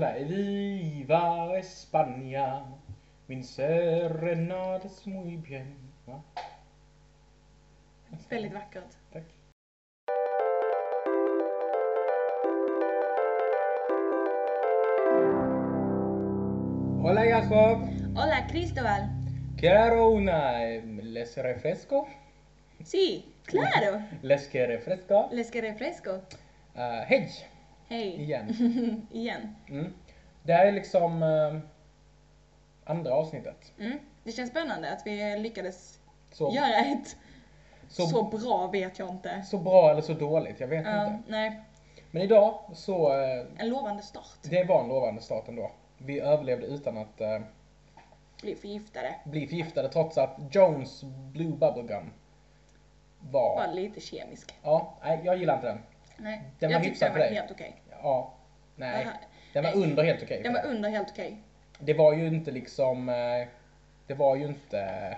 Mig viva España, min serenad es muy bien. Va? Väldigt vackert. Tack. Hola Jacob, Hola Cristóbal. quiero una... eh, ¿Les refresco? Sí, claro. ¿Les que refresco? Les que refresco. Uh, hej! Hej. Igen. Igen. Mm. Det här är liksom eh, andra avsnittet. Mm. Det känns spännande att vi lyckades Så, göra ett så, så, så... bra vet jag inte. bra eller så dåligt, jag vet Ja, inte. nej, Men idag så, eh, en lovande start. det var en lovande start ändå. Vi överlevde utan att eh, Bli förgiftade. bli förgiftade trots att Jones Blue Bubblegum var... Var lite kemisk. Ja, nej jag gillar inte den. Nej. Den var jag tyckte hyfsad den för var dig. helt okej. Ja, nej. Aha. Den var Nej. under helt okej. Den var under helt okej. det var ju inte liksom, eh, det var ju inte,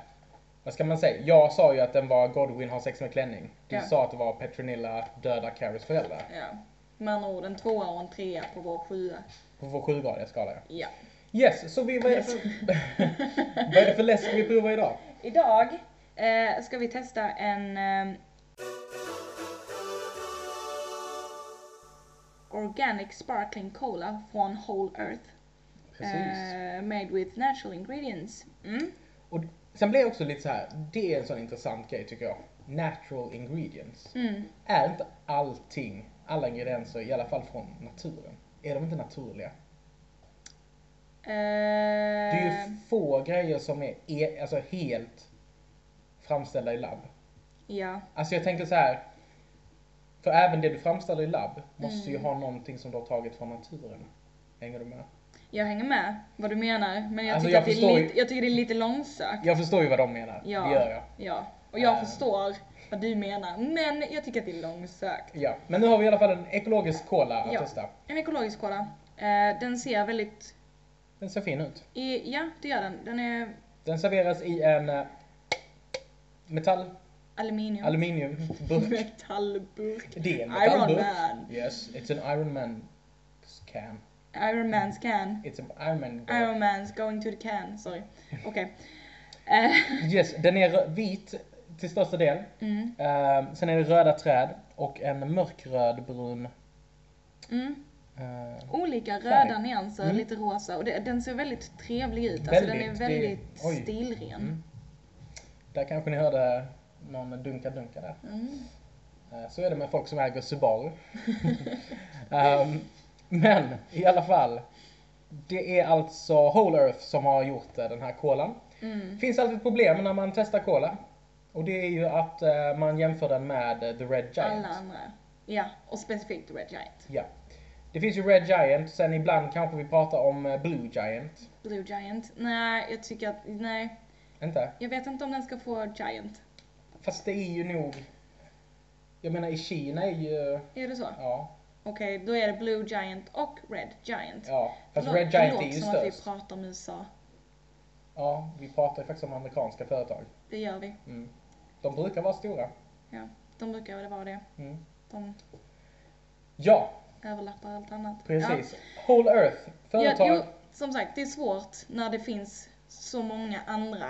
vad ska man säga? Jag sa ju att den var Godwin har sex med klänning. Du Ja. sa att det var Petronilla dödar Carries föräldrar. Ja. Med andra ord en tvåa och en trea på vår sjua. På vår sjugradiga skala ja. Ja. Yes, så vi, vad, är det för, vad är det för läsk vi provar idag? Idag eh, ska vi testa en ehm, Organic Sparkling Cola från Whole Earth. Precis. Eh, made with natural ingredients. Mm. Och sen blir jag också lite så här, det är en sån intressant grej tycker jag. Natural ingredients. Mm. Är inte allting, alla ingredienser, i alla fall från naturen, är de inte naturliga? Det är ju Eh, få grejer som är e- alltså helt framställda i labb. ja, Alltså jag tänker så här. För även det du framställer i labb måste Mm. ju ha någonting som du har tagit från naturen. Hänger du med? jag hänger med vad du menar. Men jag, Alltså, tycker, jag att det förstår är ju- lite, jag tycker det är lite långsökt. Jag förstår ju vad de menar. Ja. Det gör jag. Ja. Och jag Eh. förstår vad du menar. Men jag tycker att det är långsökt. Ja. Men nu har vi i alla fall en ekologisk cola att Ja. testa. En ekologisk cola. Eh, den ser väldigt Den ser fin ut. I, ja, det gör den. Den är Den serveras i en eh, metall, aluminium. aluminiumburk. Metallburk. Det är en Iron metallburk. Man. Yes, it's an Iron Man can. Iron Man's can. It's an Iron Man burk. Iron Man's going to the can. Sorry. Okej. Eh, Yes, den är rö- vit till största del. mm, Eh, sen är det röda träd och en mörkröd brun. mm. eh, Olika Färg. röda nyanser, Mm. lite rosa. Och det, den ser väldigt trevlig ut. Alltså, den är Väldigt, det- väldigt oj. stilren. mm. Där kanske ni hörde någon dunka-dunka där. Mm. Eh, så är det med folk som äger Subaru. Ehm, men i alla fall. Det är alltså Whole Earth som har gjort eh, den här kolan. Mm. Det finns alltid ett problem när man testar kola. Och det är ju att eh, man jämför den med eh, The Red Giant. Alla andra. Ja, och specifikt Red Giant. Ja. Det finns ju Red Giant, sen ibland kanske vi pratar om eh, Blue Giant. Blue Giant. Nej, jag tycker att, nej. Inte? Jag vet inte om den ska få Giant. Fast det är ju nog... Jag menar i Kina är ju... Är det så? Ja. Okej, då är det Blue Giant och Red Giant. ja. Fast Förlåt- Red Giant är förlåt ju som att vi störst. pratar om USA. Ja, vi pratar ju faktiskt om amerikanska företag. Det gör vi. Mm. De brukar vara stora. Ja, de brukar väl vara det. Mm. De Ja, överlappar allt annat. precis. Whole Earth. Ja. Ja, Företag. jo, som sagt, det är svårt när det finns så många andra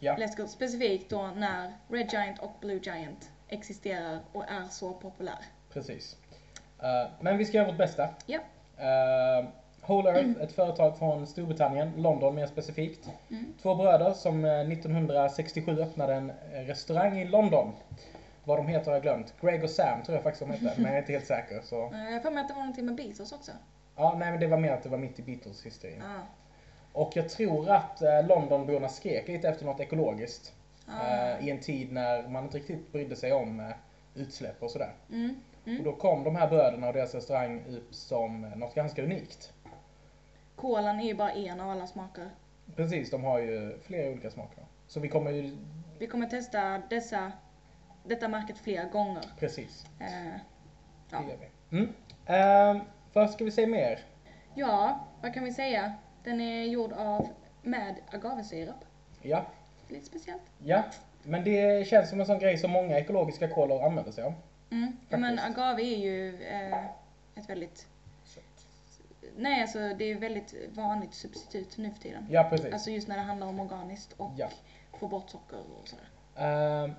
Ja. läskor. Specifikt då när Red Giant och Blue Giant existerar och är så populär. Precis. Eh, men vi ska göra vårt bästa. Ja. Eh, Whole Earth, ett företag från Storbritannien, London mer specifikt. Mm. Två bröder som eh, 1967 öppnade en eh, restaurang i London. Vad de heter har jag glömt. Greg och Sam tror jag faktiskt de hette, men jag är inte helt säker. Så. Eh, Jag har för mig att det var någonting med Bezos också. Ja, nej men det var mer att det var mitt i Beatles historien. Ah. Och jag tror att eh, Londonborna skrek lite efter något ekologiskt. Ah. eh, I en tid när man inte riktigt brydde sig om eh, utsläpp och sådär. Mm. Och Mm. då kom de här bröderna och deras restaurang upp som eh, något ganska unikt. Kolan är ju bara en av alla smaker. Precis, de har ju flera olika smaker. Så vi kommer ju, Vi kommer testa dessa, detta märket flera gånger. precis, Eh, det ja. gör vi. Mm. Ehm, vad ska vi säga mer? ja, vad kan vi säga? Den är gjord av med agavesirap. Ja, Lite speciellt. ja. Men det känns som en sån grej som många ekologiska kolor använder sig av. Mm. Ja, Men Faktiskt. agave är ju eh, ett väldigt Nej, alltså det är ju väldigt vanligt substitut nu för tiden. Ja, precis. Alltså just när det handlar om organiskt och Ja. få bort socker och sådär. Ehm,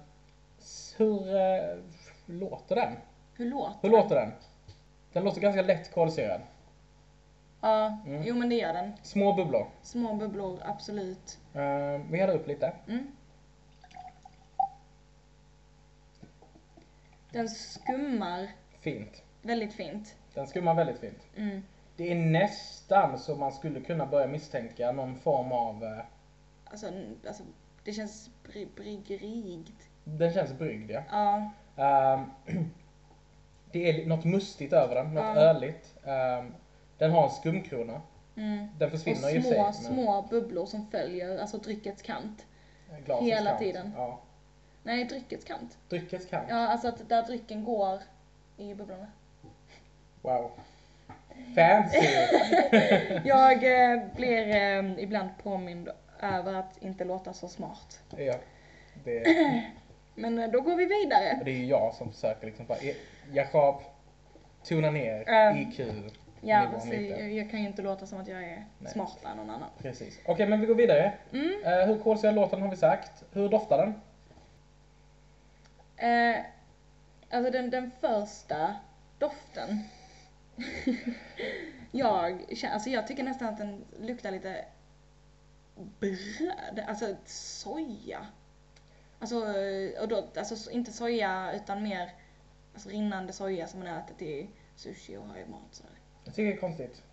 hur eh, låter den? Hur låter Hur låter den? Den låter ganska lätt kolsyran. Ja, Mm. jo men det gör den. Små bubblor. Små bubblor, absolut. Ehm, vi häller upp lite. Mm. Den skummar Fint. väldigt fint. Den skummar väldigt fint. Mm. Det är nästan så man skulle kunna börja misstänka någon form av... eh, Alltså, n- alltså det känns bri- bryggerigt. Den känns bryggd ja. Ja, Ehm, det är något mustigt över den, något Ja. öligt. Ehm, den har en skumkrona. mm. Den Och försvinner ju i sig. små, men- små bubblor som följer, alltså dryckets kant. glasets hela kant. tiden. Ja. Nej, dryckets kant. Dryckets kant. Ja, alltså att där drycken går i bubblorna. Wow. Fancy! Jag eh, blir eh, ibland påmind över att inte låta så smart. ja. Det, Men eh, då går vi vidare. det är ju jag som försöker liksom bara, "Eh, Jakob, tona ner Ehm, IQ. Ja, nivån alltså, lite. jag, jag kan ju inte låta som att jag är Nej. smartare än någon annan. Precis. Okej, men vi går vidare. Mm. Eh, hur kolsyrad låter den har vi sagt. Hur doftar den? Eh, alltså den, den första doften. jag, känner- alltså jag tycker nästan att den luktar lite bröd, alltså soja. Alltså, eh, och då, alltså so- inte soja utan mer alltså, rinnande soja som man har ätit i sushi och har i mat. Sådär. Jag tycker det är konstigt.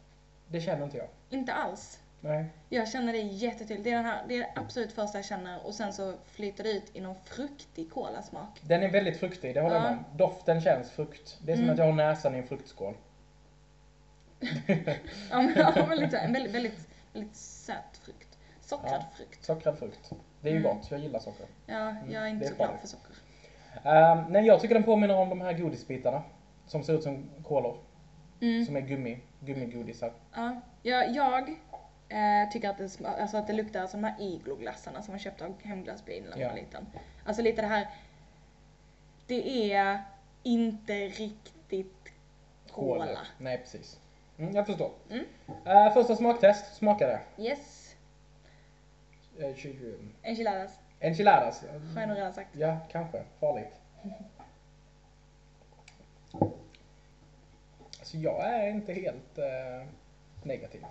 Det känner inte jag. Inte alls. Nej. Jag känner det jättetydligt. Det är, den här, det är det absolut första jag känner och sen så flyter det ut i någon fruktig kolasmak. Den är väldigt fruktig, det håller jag Ja. med om. Doften känns frukt. Det är som Mm. att jag har näsan i en fruktskål. Ja men, ja, men lite, en väldigt, väldigt, väldigt söt frukt. Sockrad Ja. frukt. Sockrad frukt. Det är ju Mm. gott, jag gillar socker. Ja, jag är inte Mm, det är så glad farligt. för socker. Ehm, nej, jag tycker den påminner om de här godisbitarna. Som ser ut som kolor. Mm. Som är gummi, gummigodisar. Ja, jag, jag eh, tycker att det, sma- alltså att det luktar som de här igloglassarna som man köpte av hemglassbilen när man var Ja. liten. Alltså lite det här, det är inte riktigt Kola. cola. Nej, precis. Mm, jag förstår. Mm. Eh, första smaktest, smakade. Yes, Eh, tju- tju- enchiladas. Enchiladas. Har jag nog redan sagt. Ja, kanske. Farligt. Så Alltså, jag är inte helt eh, negativ.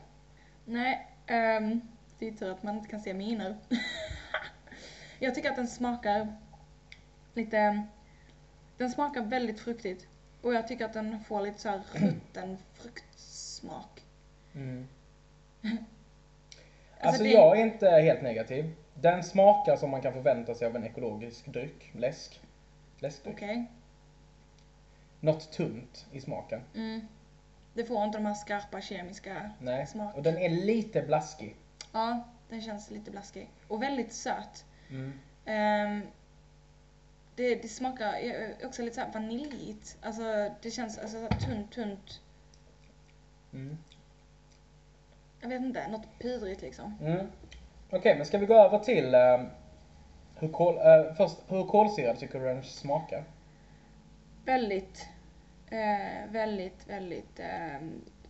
Nej, ehm, det är tur att man inte kan se miner. jag tycker att den smakar lite... Den smakar väldigt fruktigt. Och jag tycker att den får lite så här rutten fruktsmak. Mm. Alltså, Alltså, det- jag är inte helt negativ. Den smakar som man kan förvänta sig av en ekologisk dryck, läsk. Läskdryck. Okej? Något tunt i smaken. Mm. Det får inte de här skarpa kemiska... Nej. Smak. Och den är lite blaskig. Ja, den känns lite blaskig. Och väldigt söt. Mm. Ehm, det, det smakar eh, också lite så här vaniljigt. Alltså det känns alltså, så här tunt, tunt. Mm. Jag vet inte, något pudrigt liksom. Mm. Okej, men ska vi gå över till eh, hur, kol, eh, först, hur kolsyrad tycker du den smakar? väldigt, eh, väldigt, väldigt, eh,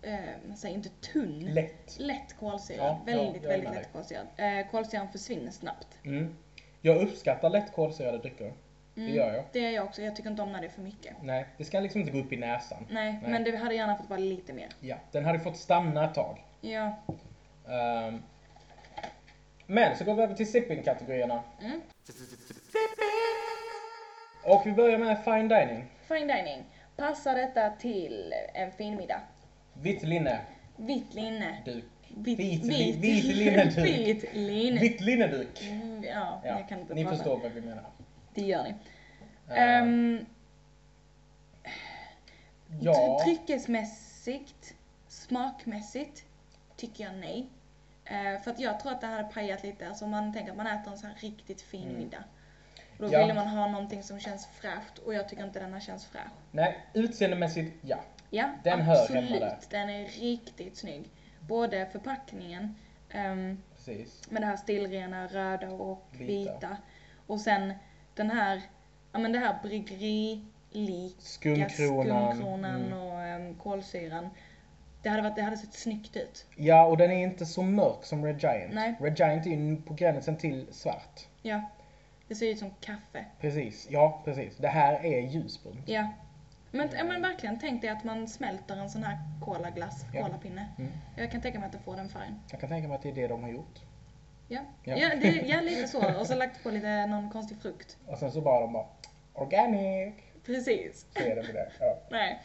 eh, man säger inte tunn. Lätt. Lätt kolsyrad. Ja, ja, väldigt, jag väldigt menar lätt kolsyrad. Eh, kolsyran försvinner snabbt. Mm. Jag uppskattar lätt kolsyrade drycker. Mm, Det gör jag. Det gör jag också. Jag tycker inte om när det är för mycket. Nej, det ska liksom inte gå upp i näsan. Nej, Nej. men det hade gärna fått vara lite mer. Ja, den hade fått stanna ett tag. Ja. Ehm, men så går vi över till sipping-kategorierna. Mm. Och vi börjar med fine dining. Fine dining. Passar detta till en fin middag? Vitt linne. Vitt linne. Duk. Vitt, Vit li- vit, vit linneduk. Vit linne. Vitt linneduk. Mm, Ja, Ja, jag kan inte ni prata. förstår Eh. vad vi menar. Det gör ni. Ehm, Ehm, ja, Dryckesmässigt, smakmässigt, tycker jag nej. Eh, för att jag tror att det här hade pajat lite. Alltså om man tänker att man äter en sån här riktigt fin Mm. middag. Då Ja. ville man ha någonting som känns fräscht och jag tycker inte denna känns fräsch. nej, utseendemässigt ja. Ja, Den hör absolut. hemma där. Den är riktigt snygg. Både förpackningen, ehm, Precis. med det här stilrena röda och Vita. vita. Och sen den här, ja men det här bryggerilika Skumkronan. skumkronan Mm. och um, kolsyran. Det hade, varit, det hade sett snyggt ut. Ja, och den är inte så mörk som Red Giant. Nej. Red Giant är ju på gränsen till svart. Ja. Det ser ut som kaffe. Precis, ja precis. Det här är ljusbrunt. Ja. Men, ja, men verkligen, tänk dig att man smälter en sån här kolaglass, Ja. kolapinne. Mm. Jag kan tänka mig att det får den färgen. Jag kan tänka mig att det är det de har gjort. Ja, Ja. ja. det, ja lite så. Och så lagt på lite någon konstig frukt. Och sen så bara de bara Organic! Precis. Så är det med det. Ja. Nej.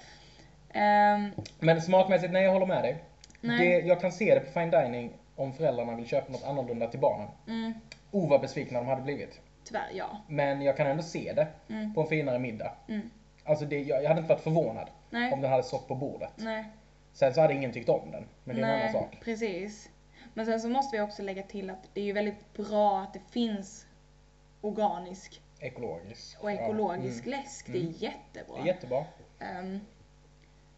Ehm, Men smakmässigt, nej jag håller med dig. nej. Det, jag kan se det på fine dining om föräldrarna vill köpa något annorlunda till barnen. Mm, O vad besvikna de hade blivit. tyvärr, ja. Men jag kan ändå se det Mm, på en finare middag. mm. Alltså det, jag, jag hade inte varit förvånad om Nej. den hade stått på bordet. Nej. Sen så hade ingen tyckt om den. Men det är en Nej, annan sak. precis. Men sen så måste vi också lägga till att det är ju väldigt bra att det finns organisk Ekologisk. och Ja. ekologisk Mm. läsk. Det är Mm. jättebra. Det är jättebra. Ehm,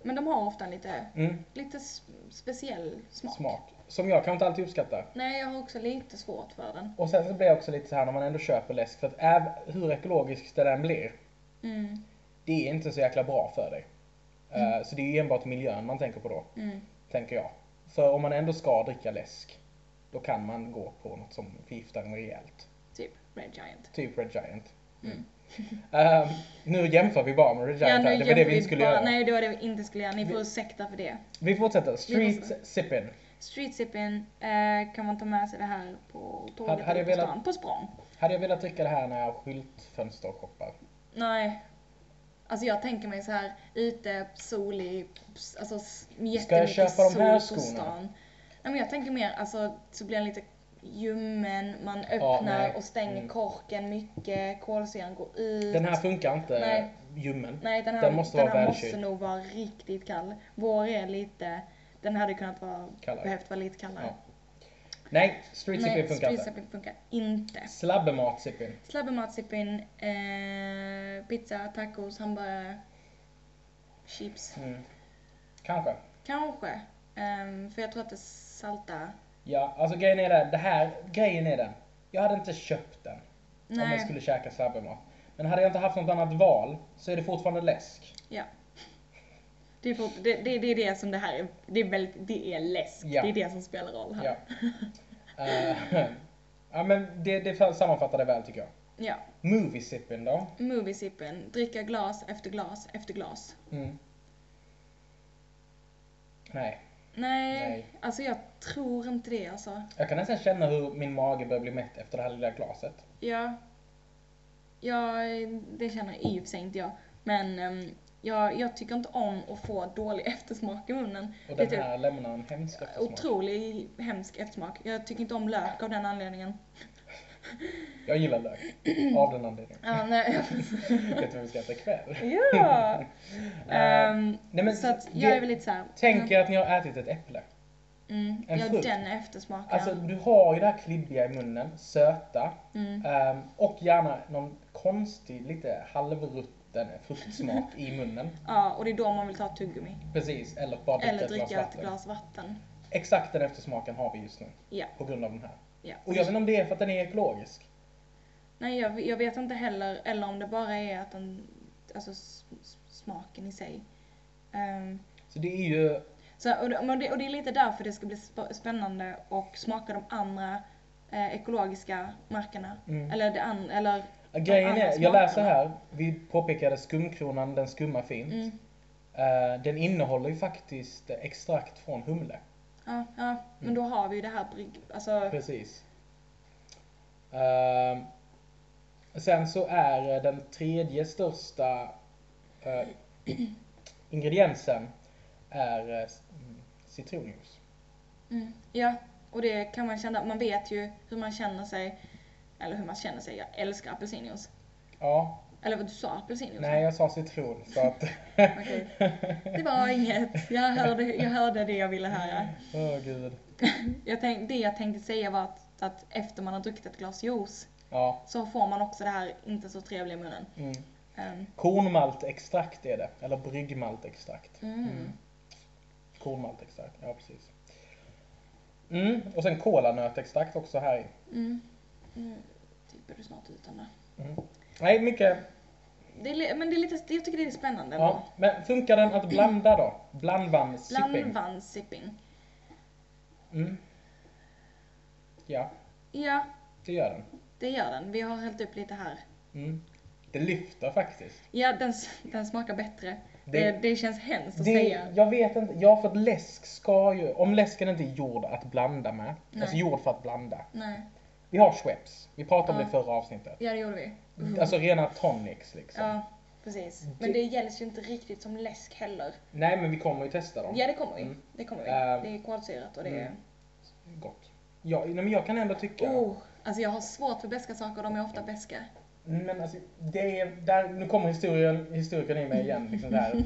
men de har ofta en lite, Mm. lite s- speciell smak. Smak. Som jag kan inte alltid uppskatta. Nej, jag har också lite svårt för den. Och sen så blir jag också lite så här när man ändå köper läsk. För att äv, hur ekologiskt det än blir. Mm, Det är inte så jäkla bra för dig. Eh, Så det är ju enbart miljön man tänker på då. mm, Tänker jag. För om man ändå ska dricka läsk. Då kan man gå på något som förgiftar en rejält. typ Red Giant. Typ Red Giant. Mm. Eh, nu jämför vi bara med Red Giant här. Det var det jämför vi inte skulle bara, göra. Nej, det var det vi inte skulle göra. Ni får Vi- ursäkta för det. Vi fortsätter. Street måste- Sippin. Street sipping eh, kan man ta med sig det här på tåget hade eller jag på velat- stan. På språng. Hade jag velat dricka det här när jag skyltfönstershoppar? Nej. Alltså jag tänker mig så här ute, solig, s- alltså s- jättemycket Ska jag köpa de sol här på skorna? stan. Nej men jag tänker mer alltså så blir den lite ljummen, man Ja, öppnar nej. och stänger Mm. korken mycket, kolsyran går ut. Den här funkar inte Nej. ljummen. Nej den här, den måste den vara här välkyld. måste nog vara riktigt kall. Vår är lite, den hade kunnat vara, Kallare. behövt vara lite kallare. Ja. Nej, Street Sippin funkar Nej, inte. sipping funkar inte. Slabbemat Sippin. Slabbemat, sippin, eh, pizza, tacos, hamburgare, chips. Mm. Kanske. Kanske. Ehm, för jag tror att det salta. Ja, alltså grejen är den. Det här, grejen är den. Jag hade inte köpt den om jag Nej. skulle käka slabbemat. Men hade jag inte haft något annat val så är det fortfarande läsk. Ja. Det är, fort, det, det, det är det som det här är. Det är, väldigt, det är läsk. Ja. Det är det som spelar roll här. Ja. Eh, ja men det, det sammanfattar det väl tycker jag. ja. Movie Sippin då? Movie sipping. Dricka glas efter glas efter glas. Mm. Nej. Nej. Nej. Alltså jag tror inte det alltså. Jag kan nästan känna hur min mage börjar bli mätt efter det här lilla glaset. Ja. Ja, det känner i och för sig inte jag. Men ehm, jag, jag tycker inte om att få dålig eftersmak i munnen. Och Det är den typ- här lämnar en hemsk eftersmak. Otrolig hemsk eftersmak. Jag tycker inte om lök av den anledningen. Jag gillar lök. Av den anledningen. Ja, nej. Vet du vad vi ska äta ikväll? ja. Ehm, Eh, Nej men så att det- jag är väl lite såhär... Tänk er att ni har ätit ett äpple. mm, en Ja, frukt. den eftersmaken. Alltså du har ju det här klibbiga i munnen, söta. mm. ehm, och gärna någon konstig lite halvrutten fruktsmak i munnen. Ja, och det är då man vill ta tuggummi. Precis, eller bara dricka Eller ett glas dricka ett vatten. glas vatten. Exakt den eftersmaken har vi just nu. Ja, På grund av den här. ja. Och jag vet inte om det är för att den är ekologisk. Nej, jag, jag vet inte heller, eller om det bara är att den... Alltså s- s- smaken i sig. Ehm, Så det är ju Så, och, det, men det, och det är lite därför det ska bli sp- spännande och smaka de andra eh, ekologiska markerna. Mm. Eller, det an, eller Grejen Alla är, jag läser smakerna. här, vi påpekade skumkronan, den skummar fint. mm, Eh, den innehåller ju faktiskt extrakt från humle. ja, ja, men då har vi ju det här brygg, alltså, Precis. Ehm, sen så är eh, den tredje största eh, ingrediensen är eh, s- mm, citronjuice. mm, ja, och det kan man känna, man vet ju hur man känner sig, eller hur man känner sig, jag älskar apelsinjuice. Ja, Eller vad du sa, apelsinjuice? nej jag sa citron så att... Okej. Det var inget, jag hörde, jag hörde det jag ville höra. Åh gud. Jag tänk, det jag tänkte säga var att, att efter man har druckit ett glas juice Ja. så får man också det här inte så trevliga i munnen. Mm. Ehm, Kornmaltextrakt är det, eller bryggmaltextrakt. Mm. Kornmaltextrakt, ja precis. Mm, och sen kolanötextrakt också här i. Mm. Nu typ är du Mm. snart utan det. Mm. Nej, mycket det är, li- men det är lite, jag tycker det är spännande Ja, ändå. men funkar den att blanda då? Blandvann-sipping? Blandvann sipping. Mm. Ja, Ja, det gör den. det gör den. Vi har hällt upp lite här. Mm. Det lyfter faktiskt. Ja, den, s- den smakar bättre. Det- Det, det, känns hemskt att Det, säga. jag vet inte, ja för att läsk ska ju, om läsken inte är gjord att blanda med, Nej. alltså gjord för att blanda. Nej, Vi har Schweppes, vi pratade om Ja. det i förra avsnittet. ja det gjorde vi. Alltså Mm, typ. rena tonics liksom. Ja, precis. Men det gälls ju inte riktigt som läsk heller. Nej men vi kommer ju testa dem. Ja, det kommer vi. Mm. Det kommer vi. Ehm. mm, Det är kolsyrat och det är... Gott. Ja, nej, men jag kan ändå tycka, Oh, alltså jag har svårt för beska saker och de är ofta beska. men alltså, det är, där, nu kommer historien, historikern i mig igen. Liksom där.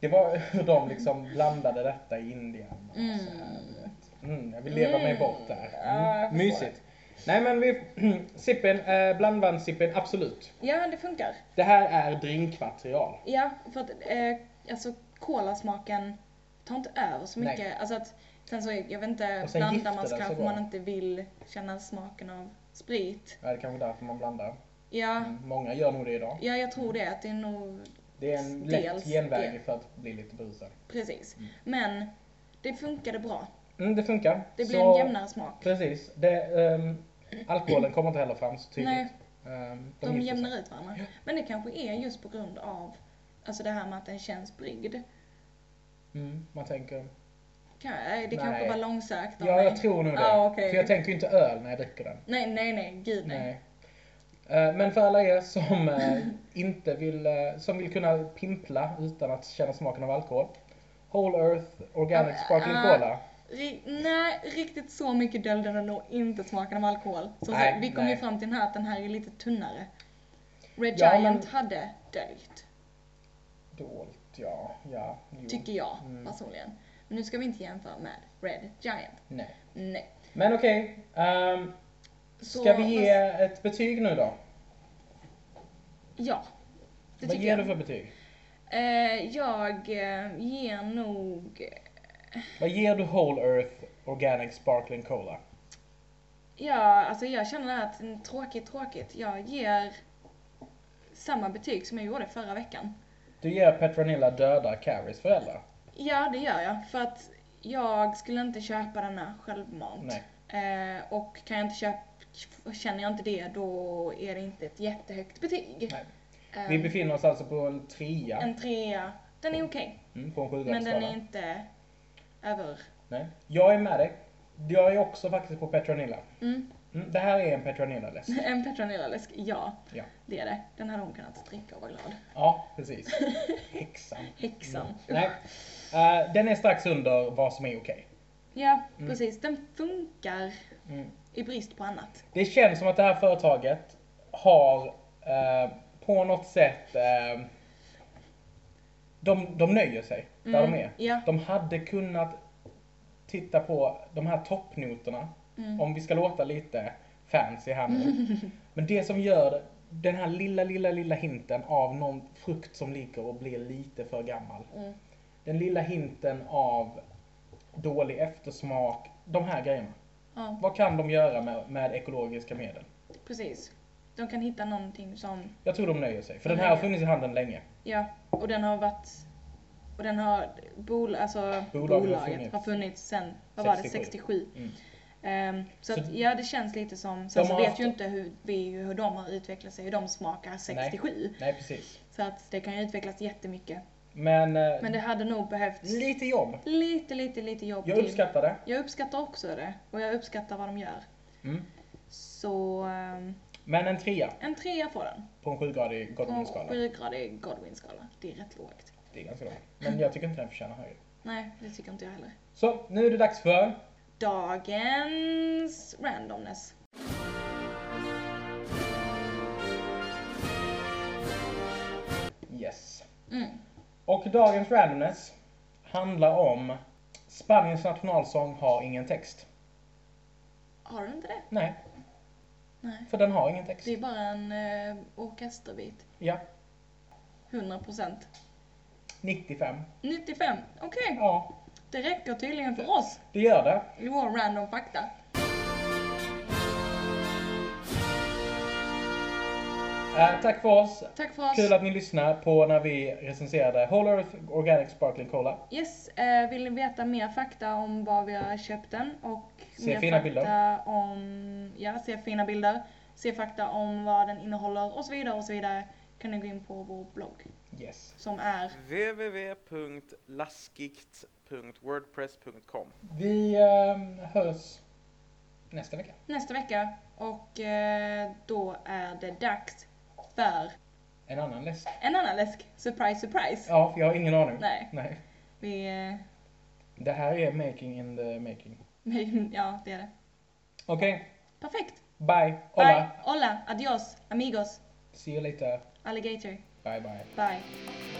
Det var hur de liksom blandade detta i Indien. och Mm. så här, du vet. Mm, jag vill leva mig Mm. bort där. Ja, jag Mm. förstår Mysigt. Nej men vi, sippen, eh, blandvann-sippen, absolut. Ja, det funkar. Det här är drinkmaterial. Ja, för att eh, alltså kolasmaken tar inte över så Nej. mycket. Alltså att, sen så, jag vet Och inte, sen gifter blandar man den så sig kanske bra. man inte vill känna smaken av sprit. Ja, det är kanske därför man blandar. Ja, Mm, Många gör nog det idag. ja jag tror det. Att det är nog Det är en lätt Dels genväg det. för att bli lite berusad. precis. Men det funkade bra. Mm, det funkar. Det blir Så- en jämnare smak. Precis. Det, ehm, alkoholen kommer inte heller fram så tydligt. Nej. Ehm, De gifter sig. jämnar ut varandra. Men det kanske är just på grund av alltså det här med att den känns bryggd. Mm, man tänker... Kan, eh, det Nej. kanske var långsökt av Ja, mig. jag tror nog det. Ja, okej. För jag tänker ju inte öl när jag dricker den. Nej, nej, nej. Gud nej. Nej. Eh, Men för alla er som eh, inte vill, eh, som vill kunna pimpla utan att känna smaken av alkohol. Whole Earth Organic Ja, Sparkling ah. Cola. Ri- nej, riktigt så mycket döljde den nog inte smaken av alkohol. Som Nej, sagt, vi kom nej. ju fram till den här att den här är lite tunnare. Red Ja, Giant men- hade döljt, Dolt, ja. Ja, jo. tycker jag Mm. personligen. Men nu ska vi inte jämföra med Red Giant. Nej. Nej. Men okej. ehm, Så- ska vi ge ett betyg nu då? Ja, det Vad tycker ger jag. du för betyg? Eh, jag eh, ger nog... Vad ger du Whole Earth Organic Sparkling Cola? Ja, alltså jag känner att mm, tråkigt, tråkigt. Jag ger samma betyg som jag gjorde förra veckan. Du ger Petronilla döda Carries föräldrar? Ja, det gör jag. För att jag skulle inte köpa den här självmant. Nej. Eh, och kan jag inte köpa, känner jag inte det, då är det inte ett jättehögt betyg. Nej. Eh, Vi befinner oss alltså på en trea en trea. Den är okej, mm, på en men den är sjugradsskala. inte över... Nej. Jag är med dig. Jag är också faktiskt på Petronilla. Mm. Mm, det här är en Petronilla-läsk. En Petronella-läsk, ja. Ja. Det är det. Den hade hon kunnat dricka och vara glad. ja, precis. Häxan. Häxan. Nej. Eh, den är strax under vad som är okej. Ja, precis. Den funkar Mm. i brist på annat. Det känns som att det här företaget har eh, på något sätt eh, de, de nöjer sig där Mm, de är. ja. De hade kunnat titta på de här toppnoterna, Mm. om vi ska låta lite fancy här nu. Men det som gör den här lilla, lilla, lilla hinten av någon frukt som ligger och blir lite för gammal. Mm. Den lilla hinten av dålig eftersmak, de här grejerna. Ja, Vad kan de göra med, med ekologiska medel? precis. De kan hitta någonting som Jag tror de nöjer sig, för De den här har nöjer. funnits i handeln länge. Ja, och den har varit... Och den har... Bol, alltså, Bolaget har bolaget funnits. har funnits sen, vad var det, 67? 67? Mm. Ehm, så, Så- att, ja, det känns lite som... Sen De så har vet haft- ju inte hur, vi, hur de har utvecklat sig, hur de smakar 67. Nej, precis. Så att det kan ju utvecklas jättemycket. Men, eh, Men det hade nog behövts lite jobb. lite, lite, lite jobb Jag uppskattar det. Jag uppskattar också det. Och jag uppskattar vad de gör. Mm. Så... ehm, Men en trea en trea får den. på en sjugradig På en Godwin-skala. sjugradig Godwin-skala. Det är rätt lågt. Det är ganska bra. Men jag tycker inte den förtjänar högre. Nej, det tycker inte jag heller. Så, nu är det dags för... dagens randomness. Yes. Mm. Och dagens randomness handlar om Spaniens nationalsång har ingen text. Har du inte det? Nej, Nej. för den har ingen text. Det är bara en eh, orkesterbit. Ja, 100%. 95. 95. Okej, Ja, det räcker tydligen för oss. det gör det. I vår random fakta. Eh, tack för oss. Tack för oss. Kul att ni lyssnar på när vi recenserade Whole Earth Organic Sparkling Cola. Yes, eh, vill ni veta mer fakta om var vi har köpt den och Se mer fina fakta bilder. om, ja, se fina bilder, se fakta om vad den innehåller och så vidare och så vidare kan ni gå in på vår blogg Yes. som är www.laskigt.wordpress.com Vi eh, hörs nästa vecka. nästa vecka och eh, då är det dags för En annan läsk. en annan läsk. Surprise, surprise! Ja, för jag har ingen aning. Nej. Nej. Vi, eh, Det här är making in the making. vi, ja det är det. Okej, Perfekt! bye. Hola. Bye! Hola! Adios! Amigos! See you later. Alligator! Bye bye. Bye!